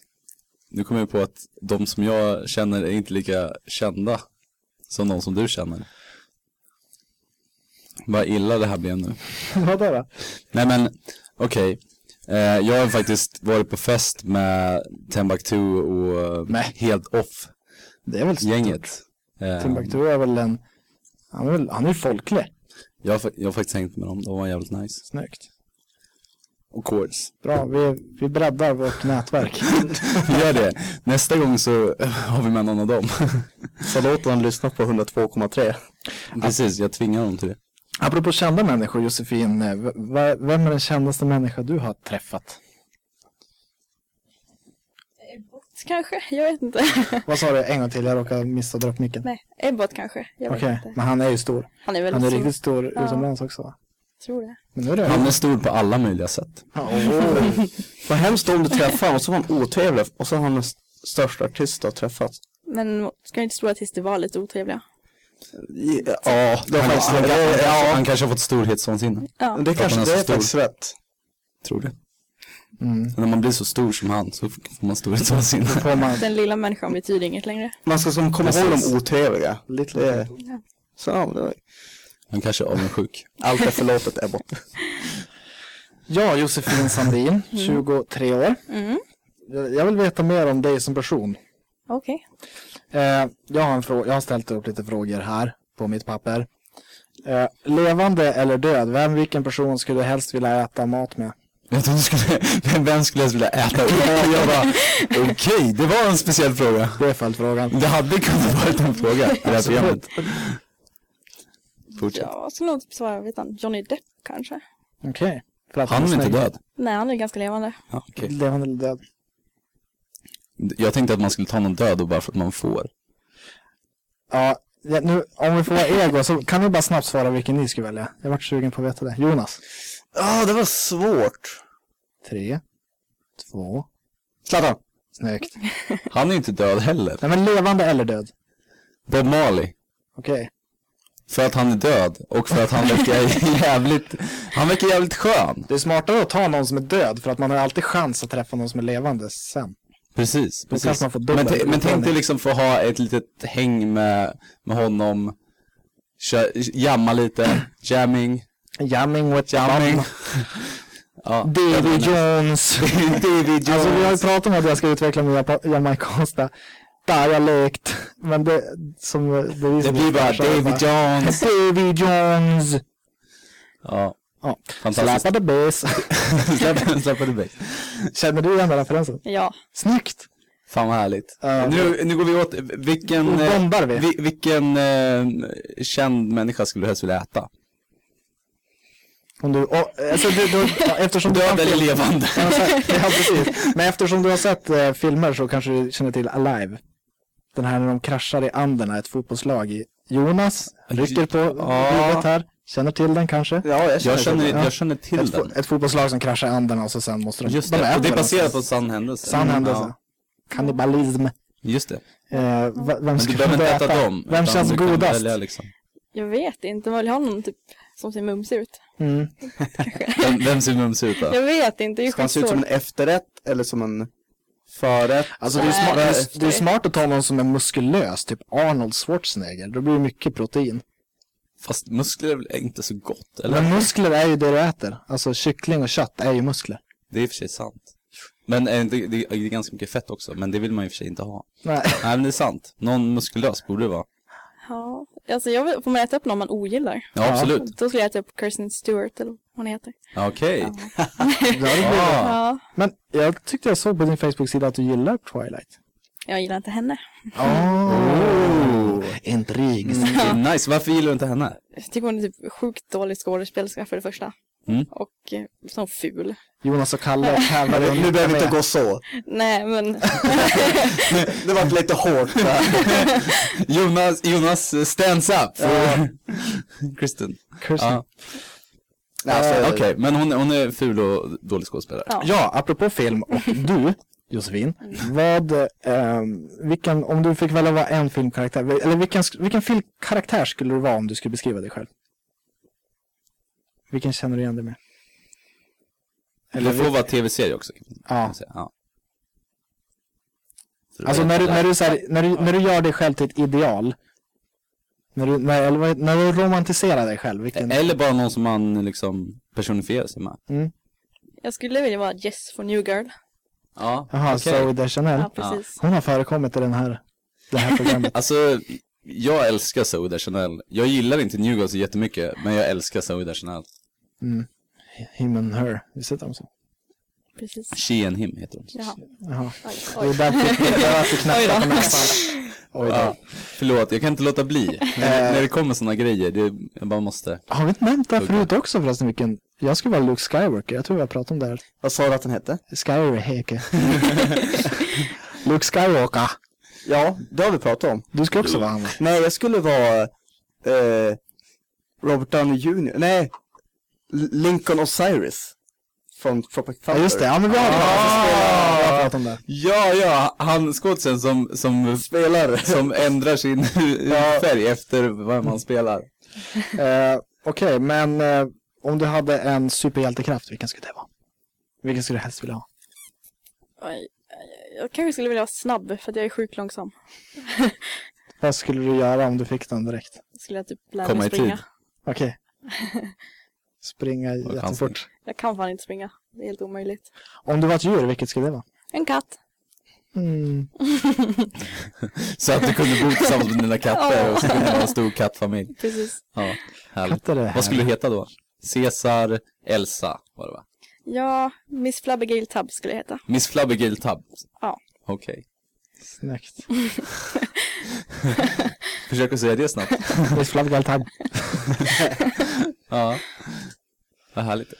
Speaker 2: nu kommer jag på att de som jag känner är inte lika kända som de som du känner. Vad illa det här blev nu.
Speaker 3: Vadå då?
Speaker 2: Nej men, okej. Eh, jag har faktiskt varit på fest med Timbuktu och eh,
Speaker 3: Nej.
Speaker 2: Helt Off-gänget.
Speaker 3: Det är väl så.
Speaker 2: Ehm,
Speaker 3: Timbuktu är väl en... Han är, väl, han är ju folklig.
Speaker 2: jag, har fa- jag har faktiskt hängt med dem, de var jävligt nice.
Speaker 3: Snyggt.
Speaker 2: Och Kårs.
Speaker 3: Bra, vi, vi breddar vårt nätverk.
Speaker 2: Gör det. Nästa gång så har vi med någon av dem.
Speaker 4: Så låt honom lyssna på 102,3.
Speaker 2: Precis, jag tvingar dem till det.
Speaker 3: Apropå kända människor, Josefin. eh, v- v- Vem är den kändaste människa du har träffat?
Speaker 5: Så kanske, jag vet inte.
Speaker 3: Vad sa du en gång till? Jag råkade missa dra upp micken.
Speaker 5: Nej, Ebbot kanske. Jag vet
Speaker 3: Okej,
Speaker 5: inte.
Speaker 3: men han är ju stor.
Speaker 5: Han är väldigt
Speaker 3: Han är
Speaker 5: stor.
Speaker 3: riktigt stor
Speaker 5: Ja.
Speaker 3: utomlands också. va?
Speaker 5: Tror det.
Speaker 3: Men nu är det...
Speaker 2: Han är stor på alla möjliga sätt.
Speaker 4: Vad hemskt om du träffar honom och så var han otrevlig och så har han den st- största artist du har träffat.
Speaker 5: Men ska inte stora artister vara lite otrevliga?
Speaker 4: Ja, det var
Speaker 2: Han,
Speaker 4: faktiskt
Speaker 2: han,
Speaker 4: det-
Speaker 2: han,
Speaker 4: ja,
Speaker 2: han kanske har fått storhetsvansinne.
Speaker 5: Ja.
Speaker 4: det kanske
Speaker 2: han är så
Speaker 4: det är
Speaker 2: stor.
Speaker 4: faktiskt rätt.
Speaker 2: Tror det.
Speaker 3: Mm.
Speaker 2: När man blir så stor som han så får man storhetsvansinne.
Speaker 3: Får man...
Speaker 5: Den lilla människan betyder inget längre.
Speaker 4: Man ska som komma ihåg
Speaker 2: Precis.
Speaker 4: de otrevliga.
Speaker 3: Lite
Speaker 4: Det är... Så, ja, men det var...
Speaker 2: Han kanske är avundsjuk.
Speaker 4: Allt är förlåtet Ebbot.
Speaker 3: Ja, Josefin Sandin, 23 år.
Speaker 5: Mm.
Speaker 3: Jag jag vill veta mer om dig som person.
Speaker 5: Okej.
Speaker 3: Eh, jag, har en frå- jag har ställt upp lite frågor här på mitt papper. Eh, levande eller död, vem, vilken person skulle du helst vilja äta mat med?
Speaker 2: Jag trodde du skulle, men vem skulle jag vilja äta upp? Jag bara, okej, det var en speciell fråga.
Speaker 3: Det är följdfrågan.
Speaker 2: Det hade kunnat varit en fråga i det här programmet. Fortsätt.
Speaker 5: Ja, så nog typ svara, vet han, Johnny Depp kanske?
Speaker 3: Okej. För att
Speaker 2: Han är inte
Speaker 3: snygg.
Speaker 2: död.
Speaker 5: Nej, han är ganska levande.
Speaker 2: Ja, okej.
Speaker 3: Levande eller död?
Speaker 2: Jag tänkte att man skulle ta någon död och bara för att man får.
Speaker 3: Ja, ja, nu, om vi får vara ego så kan vi bara snabbt svara vilken ni skulle välja. Jag vart sugen på att veta det. Jonas?
Speaker 4: Ja, det var svårt.
Speaker 3: Tre, två,
Speaker 4: Zlatan.
Speaker 3: snyggt.
Speaker 2: Han är inte död heller.
Speaker 3: Nej men levande eller död?
Speaker 2: Bob Marley.
Speaker 3: Okej.
Speaker 2: För att han är död och för att han verkar jävligt, han verkar jävligt skön.
Speaker 3: Det är smartare att ta någon som är död för att man har alltid chans att träffa någon som är levande sen.
Speaker 2: Precis, precis.
Speaker 3: kanske man får dubbel
Speaker 2: men, t- men tänk dig
Speaker 3: utmaning.
Speaker 2: liksom få ha ett litet häng med, med honom, Kö- jamma lite, jamming,
Speaker 3: Jamming with
Speaker 2: jamming.
Speaker 3: Bum.
Speaker 2: ja,
Speaker 3: David Jones.
Speaker 2: David
Speaker 3: Alltså vi har ju
Speaker 2: Jones.
Speaker 3: pratat om att jag ska utveckla min japa- jamaicanska dialekt. Men det, som, det, är vi
Speaker 2: Det
Speaker 3: som
Speaker 2: blir bara
Speaker 3: försöker
Speaker 2: David Jones.
Speaker 3: David Jones.
Speaker 2: Ja,
Speaker 3: Ja,
Speaker 2: fantastiskt.
Speaker 3: släpade bass.
Speaker 2: Släpp- Släpp det bäst.
Speaker 3: Känner du igen den referensen?
Speaker 5: Ja,
Speaker 3: Snyggt.
Speaker 2: Fan vad härligt.
Speaker 3: Ja.
Speaker 2: Nu, nu går vi åt, vilken,
Speaker 3: Då
Speaker 2: eh,
Speaker 3: bombar vi.
Speaker 2: vi- vilken eh, känd människa skulle du helst vilja äta?
Speaker 3: Om du, och, alltså, du, du, ja, eftersom du
Speaker 2: Död
Speaker 3: har
Speaker 2: eller
Speaker 3: film-
Speaker 2: levande?
Speaker 3: Ja, så- ja, precis. Men eftersom du har sett eh, filmer så kanske du känner till Alive. Den här när de kraschar i Anderna, ett fotbollslag i Jonas rycker på huvudet här. Känner till den kanske?
Speaker 4: Ja, jag känner,
Speaker 2: Jag känner,
Speaker 3: Ja.
Speaker 2: jag känner till
Speaker 3: Ett,
Speaker 2: den.
Speaker 3: fo- ett fotbollslag som kraschar i Anderna och så sen måste de...
Speaker 2: Just
Speaker 3: de
Speaker 2: det,
Speaker 3: äter
Speaker 2: och det är
Speaker 3: den.
Speaker 2: baserat på sann händelse.
Speaker 3: Sann händelse.
Speaker 2: Ja,
Speaker 3: Kannibalism.
Speaker 2: just det.
Speaker 3: Eh, va- vem
Speaker 2: Men
Speaker 3: ska
Speaker 2: du behöver
Speaker 3: du
Speaker 2: inte äta dem.
Speaker 3: Vem
Speaker 2: utan
Speaker 3: känns
Speaker 2: du kan
Speaker 3: godast?
Speaker 2: välja Liksom.
Speaker 5: jag vet inte. Man vill ha någon typ som ser mums ut.
Speaker 6: Mm.
Speaker 2: Vem, vem ser mums ut då?
Speaker 5: Jag vet inte, det är ju
Speaker 4: Ska han se ut som en
Speaker 5: skitsvårt.
Speaker 4: efterrätt eller som en förrätt?
Speaker 3: Alltså
Speaker 5: det är smart-
Speaker 3: det, är,
Speaker 5: det är-
Speaker 3: det är smart att ta någon som är muskulös, typ Arnold Schwarzenegger. Då blir det mycket protein.
Speaker 2: Fast muskler är väl inte så gott, eller?
Speaker 3: Men muskler är ju det du äter. Alltså kyckling och kött är ju muskler.
Speaker 2: Det är i och för sig sant. Men är det, inte- det det är ganska mycket fett också, men det vill man i och för sig inte ha.
Speaker 3: Nej.
Speaker 2: Nej, men det är sant. Någon muskulös borde det vara.
Speaker 5: Ja, alltså jag vill, får man äta upp någon man ogillar?
Speaker 2: Ja, absolut.
Speaker 5: Då skulle jag äta upp Kirsten Stewart eller vad hon heter.
Speaker 2: Okej. Ah.
Speaker 5: Ja,
Speaker 3: Men jag tyckte jag såg på din Facebook-sida att du gillar Twilight.
Speaker 5: jag gillar inte henne.
Speaker 3: Oh. Intrig.
Speaker 2: Mm. Nice, varför gillar du inte henne?
Speaker 5: Jag tycker hon är typ sjukt dålig skådespelerska för det första.
Speaker 2: Mm.
Speaker 5: Och eh, sån ful.
Speaker 3: Jonas och Kalle tävlar
Speaker 4: Nu-
Speaker 3: om
Speaker 4: Nu
Speaker 3: vilka
Speaker 4: behöver vi
Speaker 3: mer.
Speaker 4: inte gå så.
Speaker 5: Nej, men
Speaker 4: Det var lite hårt. va?
Speaker 2: Jonas, Jonas eh, stands up! Kristen.
Speaker 3: Kirsten.
Speaker 2: Ja.
Speaker 4: Nej, alltså,
Speaker 2: Okej, men hon, hon är ful och dålig skådespelare.
Speaker 5: ja.
Speaker 3: Ja, apropå film och du, Josefin. Vad, ehm, vilken, om du fick välja vara en filmkaraktär, eller vilken, sk- vilken filmkaraktär skulle du vara om du skulle beskriva dig själv? Vilken känner du igen dig med?
Speaker 2: Eller det får vara tv-serie också. Kan
Speaker 3: Ja.
Speaker 2: man säga. ja. För
Speaker 3: Alltså
Speaker 2: att-
Speaker 3: när du, när, du, så här, när, du, när du gör dig själv till ett ideal. När du, när, eller vad- när du romantiserar dig själv. Vilken,
Speaker 2: Eller bara någon som man liksom personifierar sig med.
Speaker 3: Mm.
Speaker 5: jag skulle vilja vara Jess från New Girl.
Speaker 2: Ja,
Speaker 3: Jaha,
Speaker 2: okej.
Speaker 3: Zoe Deschanel.
Speaker 5: Ja, precis.
Speaker 3: Hon har förekommit i den här, det här programmet.
Speaker 2: Alltså, jag älskar Zoe Deschanel. Jag gillar inte New Girl så jättemycket, men jag älskar Zoe Deschanel.
Speaker 3: Him and her. Visst heter de så?
Speaker 5: precis.
Speaker 2: She and him heter hon.
Speaker 5: Jaha.
Speaker 3: Jaha.
Speaker 5: Oj,
Speaker 3: Det är
Speaker 5: oj.
Speaker 3: därför det är därför knappt på näsan. Oj då.
Speaker 2: Ja, förlåt, jag kan inte låta bli. när,
Speaker 3: Eh.
Speaker 2: när det kommer sådana grejer, det, jag bara måste.
Speaker 3: Har vi inte nämnt det här
Speaker 2: Tugga.
Speaker 3: förut också förresten vilken? Jag skulle vara Luke Skywalker, jag tror vi har pratat om det här.
Speaker 4: vad sa du att den hette?
Speaker 3: Skywalker. Luke Skywalker.
Speaker 4: Ja, det har vi pratat om.
Speaker 3: Du ska också vara han va?
Speaker 4: Nej, jag skulle vara eh, Robert Downey Jr. Nej, L- Lincoln Osiris. Från Tropic
Speaker 3: Ja
Speaker 4: Thunder.
Speaker 3: just det, ja men vi har ah! vi har pratat om det.
Speaker 2: Ja, ja, han skådisen som, som spelar, som ändrar sin färg efter vad man spelar.
Speaker 3: Eh, Okej, men eh, om du hade en superhjältekraft, vilken skulle det vara? Vilken skulle du helst vilja ha?
Speaker 5: Oj. Jag kanske skulle vilja vara snabb för att jag är sjukt långsam.
Speaker 3: Vad skulle du göra om du fick den direkt?
Speaker 5: Skulle jag typ lära
Speaker 2: Komma
Speaker 5: mig
Speaker 2: i tid.
Speaker 5: springa.
Speaker 3: Okej. Springa
Speaker 2: Vad
Speaker 3: jättefort.
Speaker 5: Jag kan fan inte springa. Det är helt omöjligt.
Speaker 3: Om du var ett djur, vilket skulle det vara?
Speaker 5: En katt.
Speaker 3: Mm.
Speaker 2: Så att du kunde bo tillsammans med dina katter och så kunde man ha en stor kattfamilj.
Speaker 5: Precis.
Speaker 2: Ja, härligt.
Speaker 3: Katter är här.
Speaker 2: Vad skulle du heta då? Cesar Elsa var det va?
Speaker 5: Ja, Miss Flabbergale Tubb skulle jag heta.
Speaker 2: Miss Flabbergale Tubb?
Speaker 5: Ja.
Speaker 2: Okej.
Speaker 3: Snyggt.
Speaker 2: Försök att säga det snabbt.
Speaker 3: Miss Flabgaltab.
Speaker 2: Ja. Vad härligt.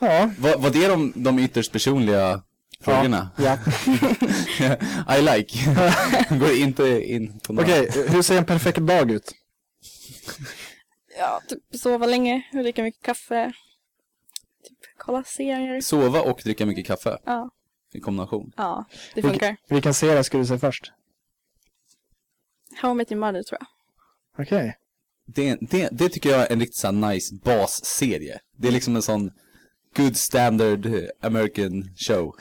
Speaker 3: Ja.
Speaker 2: Var, var det de, de ytterst personliga frågorna?
Speaker 3: Ja.
Speaker 2: I like. Går inte in på några.
Speaker 3: Okej, hur ser en perfekt dag ut?
Speaker 5: Ja, typ sova länge, dricka mycket kaffe. Typ kolla serier.
Speaker 2: Sova och dricka mycket kaffe
Speaker 5: Ja,
Speaker 2: i kombination.
Speaker 5: ja det
Speaker 3: Vilken-
Speaker 5: funkar.
Speaker 3: Vilken serie skulle du se först?
Speaker 5: How I Met Your Mother tror jag.
Speaker 3: Okej.
Speaker 2: Det, det, det tycker jag är en riktigt så här nice basserie. Det är liksom en sån good standard eh, American show.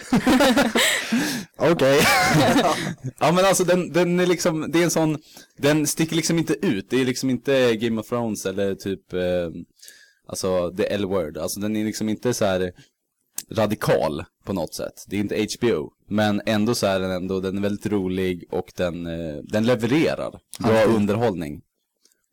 Speaker 3: Okej.
Speaker 2: Ja men alltså den, den är liksom, det är en sån, den sticker liksom inte ut. Det är liksom inte Game of Thrones eller typ, eh, alltså the L-word. Alltså den är liksom inte så här radikal på något sätt. Det är inte HBO. Men ändå så är den ändå, den är väldigt rolig och den, eh, den levererar bra underhållning.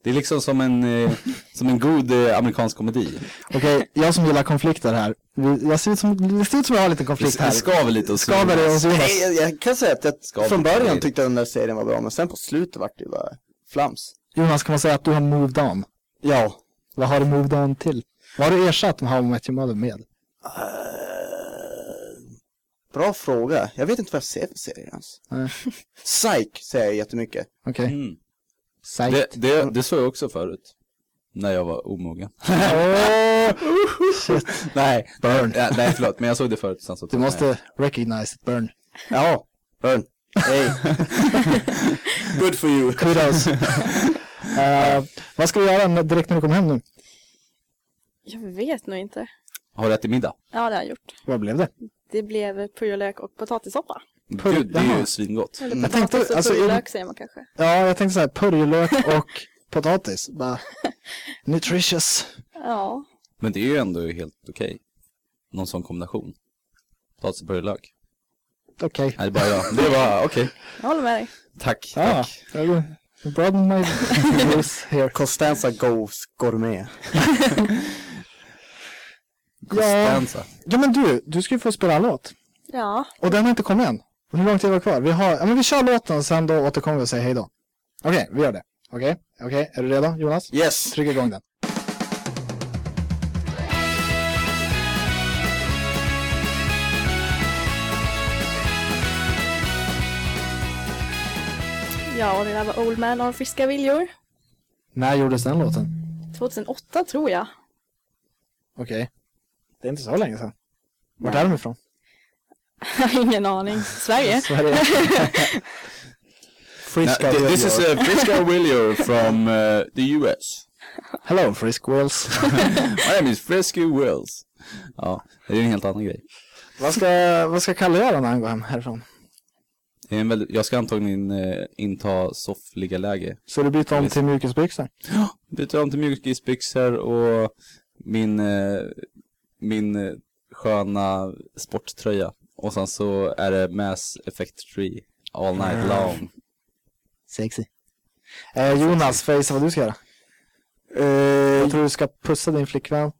Speaker 2: Det är liksom som en, eh, som en god eh, amerikansk komedi.
Speaker 3: Okej, jag som gillar konflikter här. Vi- Jag ser ut som, det ser ut som jag har lite
Speaker 2: Det,
Speaker 3: konflikt
Speaker 2: det
Speaker 3: här.
Speaker 2: skaver lite och
Speaker 3: Skaver det hos Jonas?
Speaker 4: Nej, jag, jag kan säga att jag
Speaker 2: Ska
Speaker 4: från
Speaker 2: vi-
Speaker 4: början tyckte den där serien var bra, men sen på slutet vart det ju bara flams.
Speaker 3: Jonas, kan man säga att du har moved on?
Speaker 4: Ja.
Speaker 3: Vad har du moved on till? Vad har du ersatt med How I Met Your Mother med?
Speaker 4: Bra fråga. Jag vet inte vad jag ser för serie ens.
Speaker 3: Nej.
Speaker 4: Psych säger jag jättemycket.
Speaker 3: Okej. Okay.
Speaker 2: Mm. Det, det, det såg jag också förut. När jag var omogen.
Speaker 3: Shit.
Speaker 2: Nej,
Speaker 3: Burn.
Speaker 2: Ja, nej förlåt, men jag såg det förut. Sen så
Speaker 3: Du måste recognize it, burn.
Speaker 4: Ja, Burn. Hey. Good for you.
Speaker 3: Kudos. Eh, vad ska du göra när, direkt när du kommer hem nu?
Speaker 5: Jag vet nog inte.
Speaker 2: Har du ätit middag?
Speaker 5: Ja, det har jag gjort.
Speaker 3: Vad blev det?
Speaker 5: Det blev purjolök och potatissoppa.
Speaker 2: Gud, det är ju svingott.
Speaker 5: Eller
Speaker 3: Jag
Speaker 5: potatis
Speaker 3: tänkte-
Speaker 5: och
Speaker 3: alltså, är det-
Speaker 5: purjolök säger man kanske.
Speaker 3: Ja, jag tänkte så här, purjolök och potatis. Bara, nutritious.
Speaker 5: Ja,
Speaker 2: Men det är ju ändå helt okej. Någon sån kombination. Potatis och purjolök.
Speaker 3: Okej.
Speaker 2: Nej, det är bara jag. Det var okej.
Speaker 5: jag håller med dig.
Speaker 2: Tack,
Speaker 3: Ah,
Speaker 2: tack.
Speaker 3: jag går- you broaden my views here.
Speaker 4: Costanza Goes Gourmet.
Speaker 3: Ja,
Speaker 2: Costanza.
Speaker 3: ja, men du, du ska ju få spela en låt.
Speaker 5: Ja,
Speaker 3: Och den har inte kommit än. Hur lång tid var kvar? Vi, har, ja, men vi kör låten och sen då återkommer vi och säger hej då. Okej, vi gör det. Okej, okej. Är du redo Jonas?
Speaker 4: Yes!
Speaker 3: Tryck igång den.
Speaker 5: ja och det där var Old Man har friska viljor.
Speaker 3: När gjordes den låten?
Speaker 5: 2008 tror jag.
Speaker 3: Okej. Det är inte så länge sedan. Vart är de ifrån?
Speaker 5: Jag har ingen aning. Sverige?
Speaker 3: Sverige. Frisk
Speaker 2: Nej, this is uh, Frisco Willio from uh, the US.
Speaker 3: Hello Frisk Wills.
Speaker 2: My name is Frisco Wills. Ja, det är ju en helt annan grej.
Speaker 3: vad, ska, vad ska Kalle göra när han går hem härifrån?
Speaker 2: Det är en väldigt, jag ska antagligen eh, inta soffliga läge.
Speaker 3: Så du byter om till mjukisbyxor?
Speaker 2: Byta om till mjukisbyxor och min, eh, min eh, sköna sporttröja. Och sen så är det Mass Effect 3 all night long.
Speaker 3: Sexy. Eh, Jonas, får jag gissa vad du ska göra? jag tror du ska pussa din flickvän,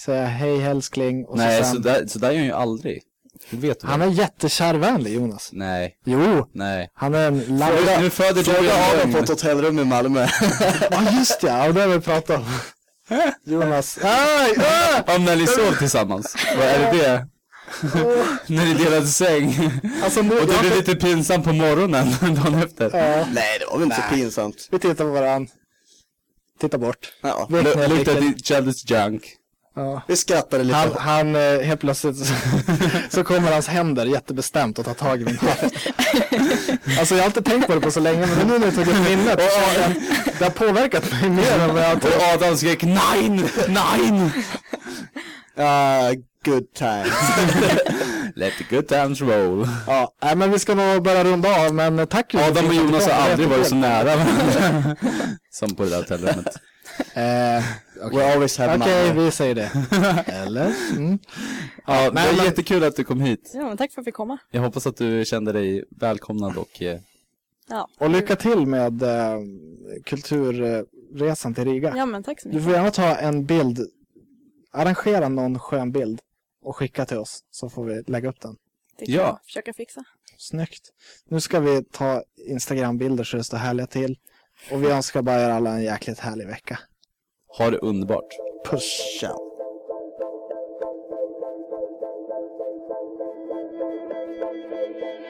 Speaker 3: säga hej älskling och
Speaker 2: Nej,
Speaker 3: så sen...
Speaker 2: så där, så där gör jag ju aldrig. Du vet du
Speaker 3: Han
Speaker 2: det.
Speaker 3: är jättekärvänlig Jonas.
Speaker 2: Nej,
Speaker 3: Jo,
Speaker 2: nej.
Speaker 3: han är en
Speaker 2: Nu-
Speaker 3: lampa.
Speaker 2: nu föder du
Speaker 4: Fråga
Speaker 2: en
Speaker 4: Adam
Speaker 2: lögn.
Speaker 4: på ett hotellrum i Malmö.
Speaker 3: Ja just ja, och det har vi pratat om. Jonas. Aj, aj!
Speaker 2: Om när ni sov tillsammans. Vad är det det? när ni delade säng.
Speaker 3: Alltså nu,
Speaker 2: Och det
Speaker 3: jag-
Speaker 2: blev lite pinsamt på morgonen dagen efter.
Speaker 3: Ja,
Speaker 4: Nej, det var väl inte så pinsamt.
Speaker 3: vi tittar på varandra. Titta bort.
Speaker 4: Ja.
Speaker 3: Vet ni,
Speaker 2: Lu- Lukta
Speaker 3: vilken-
Speaker 2: each other's junk.
Speaker 3: Ja.
Speaker 4: Vi skrattade lite.
Speaker 3: Han, han eh, helt plötsligt så, så kommer hans händer jättebestämt och tar tag i min hatt. Alltså jag har inte tänkt på det på så länge men nu när jag tog upp minnet så har jag- det har påverkat mig mer än vad jag
Speaker 2: Och Adam skrek nein, nein.
Speaker 4: Ah, good times.
Speaker 2: Let the good times roll.
Speaker 3: Ja, nej, men vi ska nog börja runda av men eh, tack Jonas.
Speaker 2: Adam och Jonas har aldrig varit så
Speaker 3: Eh,
Speaker 2: nära varandra. Som på det där hotellrummet.
Speaker 3: Okej,
Speaker 4: We always have
Speaker 3: Okej,
Speaker 4: Malmö.
Speaker 3: vi säger det. Eller? Mm.
Speaker 2: Ja, det
Speaker 3: Nej,
Speaker 2: var
Speaker 3: men-
Speaker 2: jättekul att du kom hit.
Speaker 5: Ja, men tack för att vi fick komma.
Speaker 2: Jag hoppas att du kände dig välkomnad och eh,
Speaker 5: Ja.
Speaker 3: Och lycka till med eh, kulturresan till Riga.
Speaker 5: ja, men tack så
Speaker 3: Du
Speaker 5: mycket.
Speaker 3: får gärna ta en bild, arrangera någon skön bild och skicka till oss så får vi lägga upp den.
Speaker 5: Det kan
Speaker 2: Ja.
Speaker 5: jag försöka fixa.
Speaker 3: Snyggt. Nu ska vi ta Instagram-bilder så det står härliga till. Och vi önskar bara er alla en jäkligt härlig vecka.
Speaker 2: har det underbart.
Speaker 3: Puss!
Speaker 4: Ciao.
Speaker 7: Thank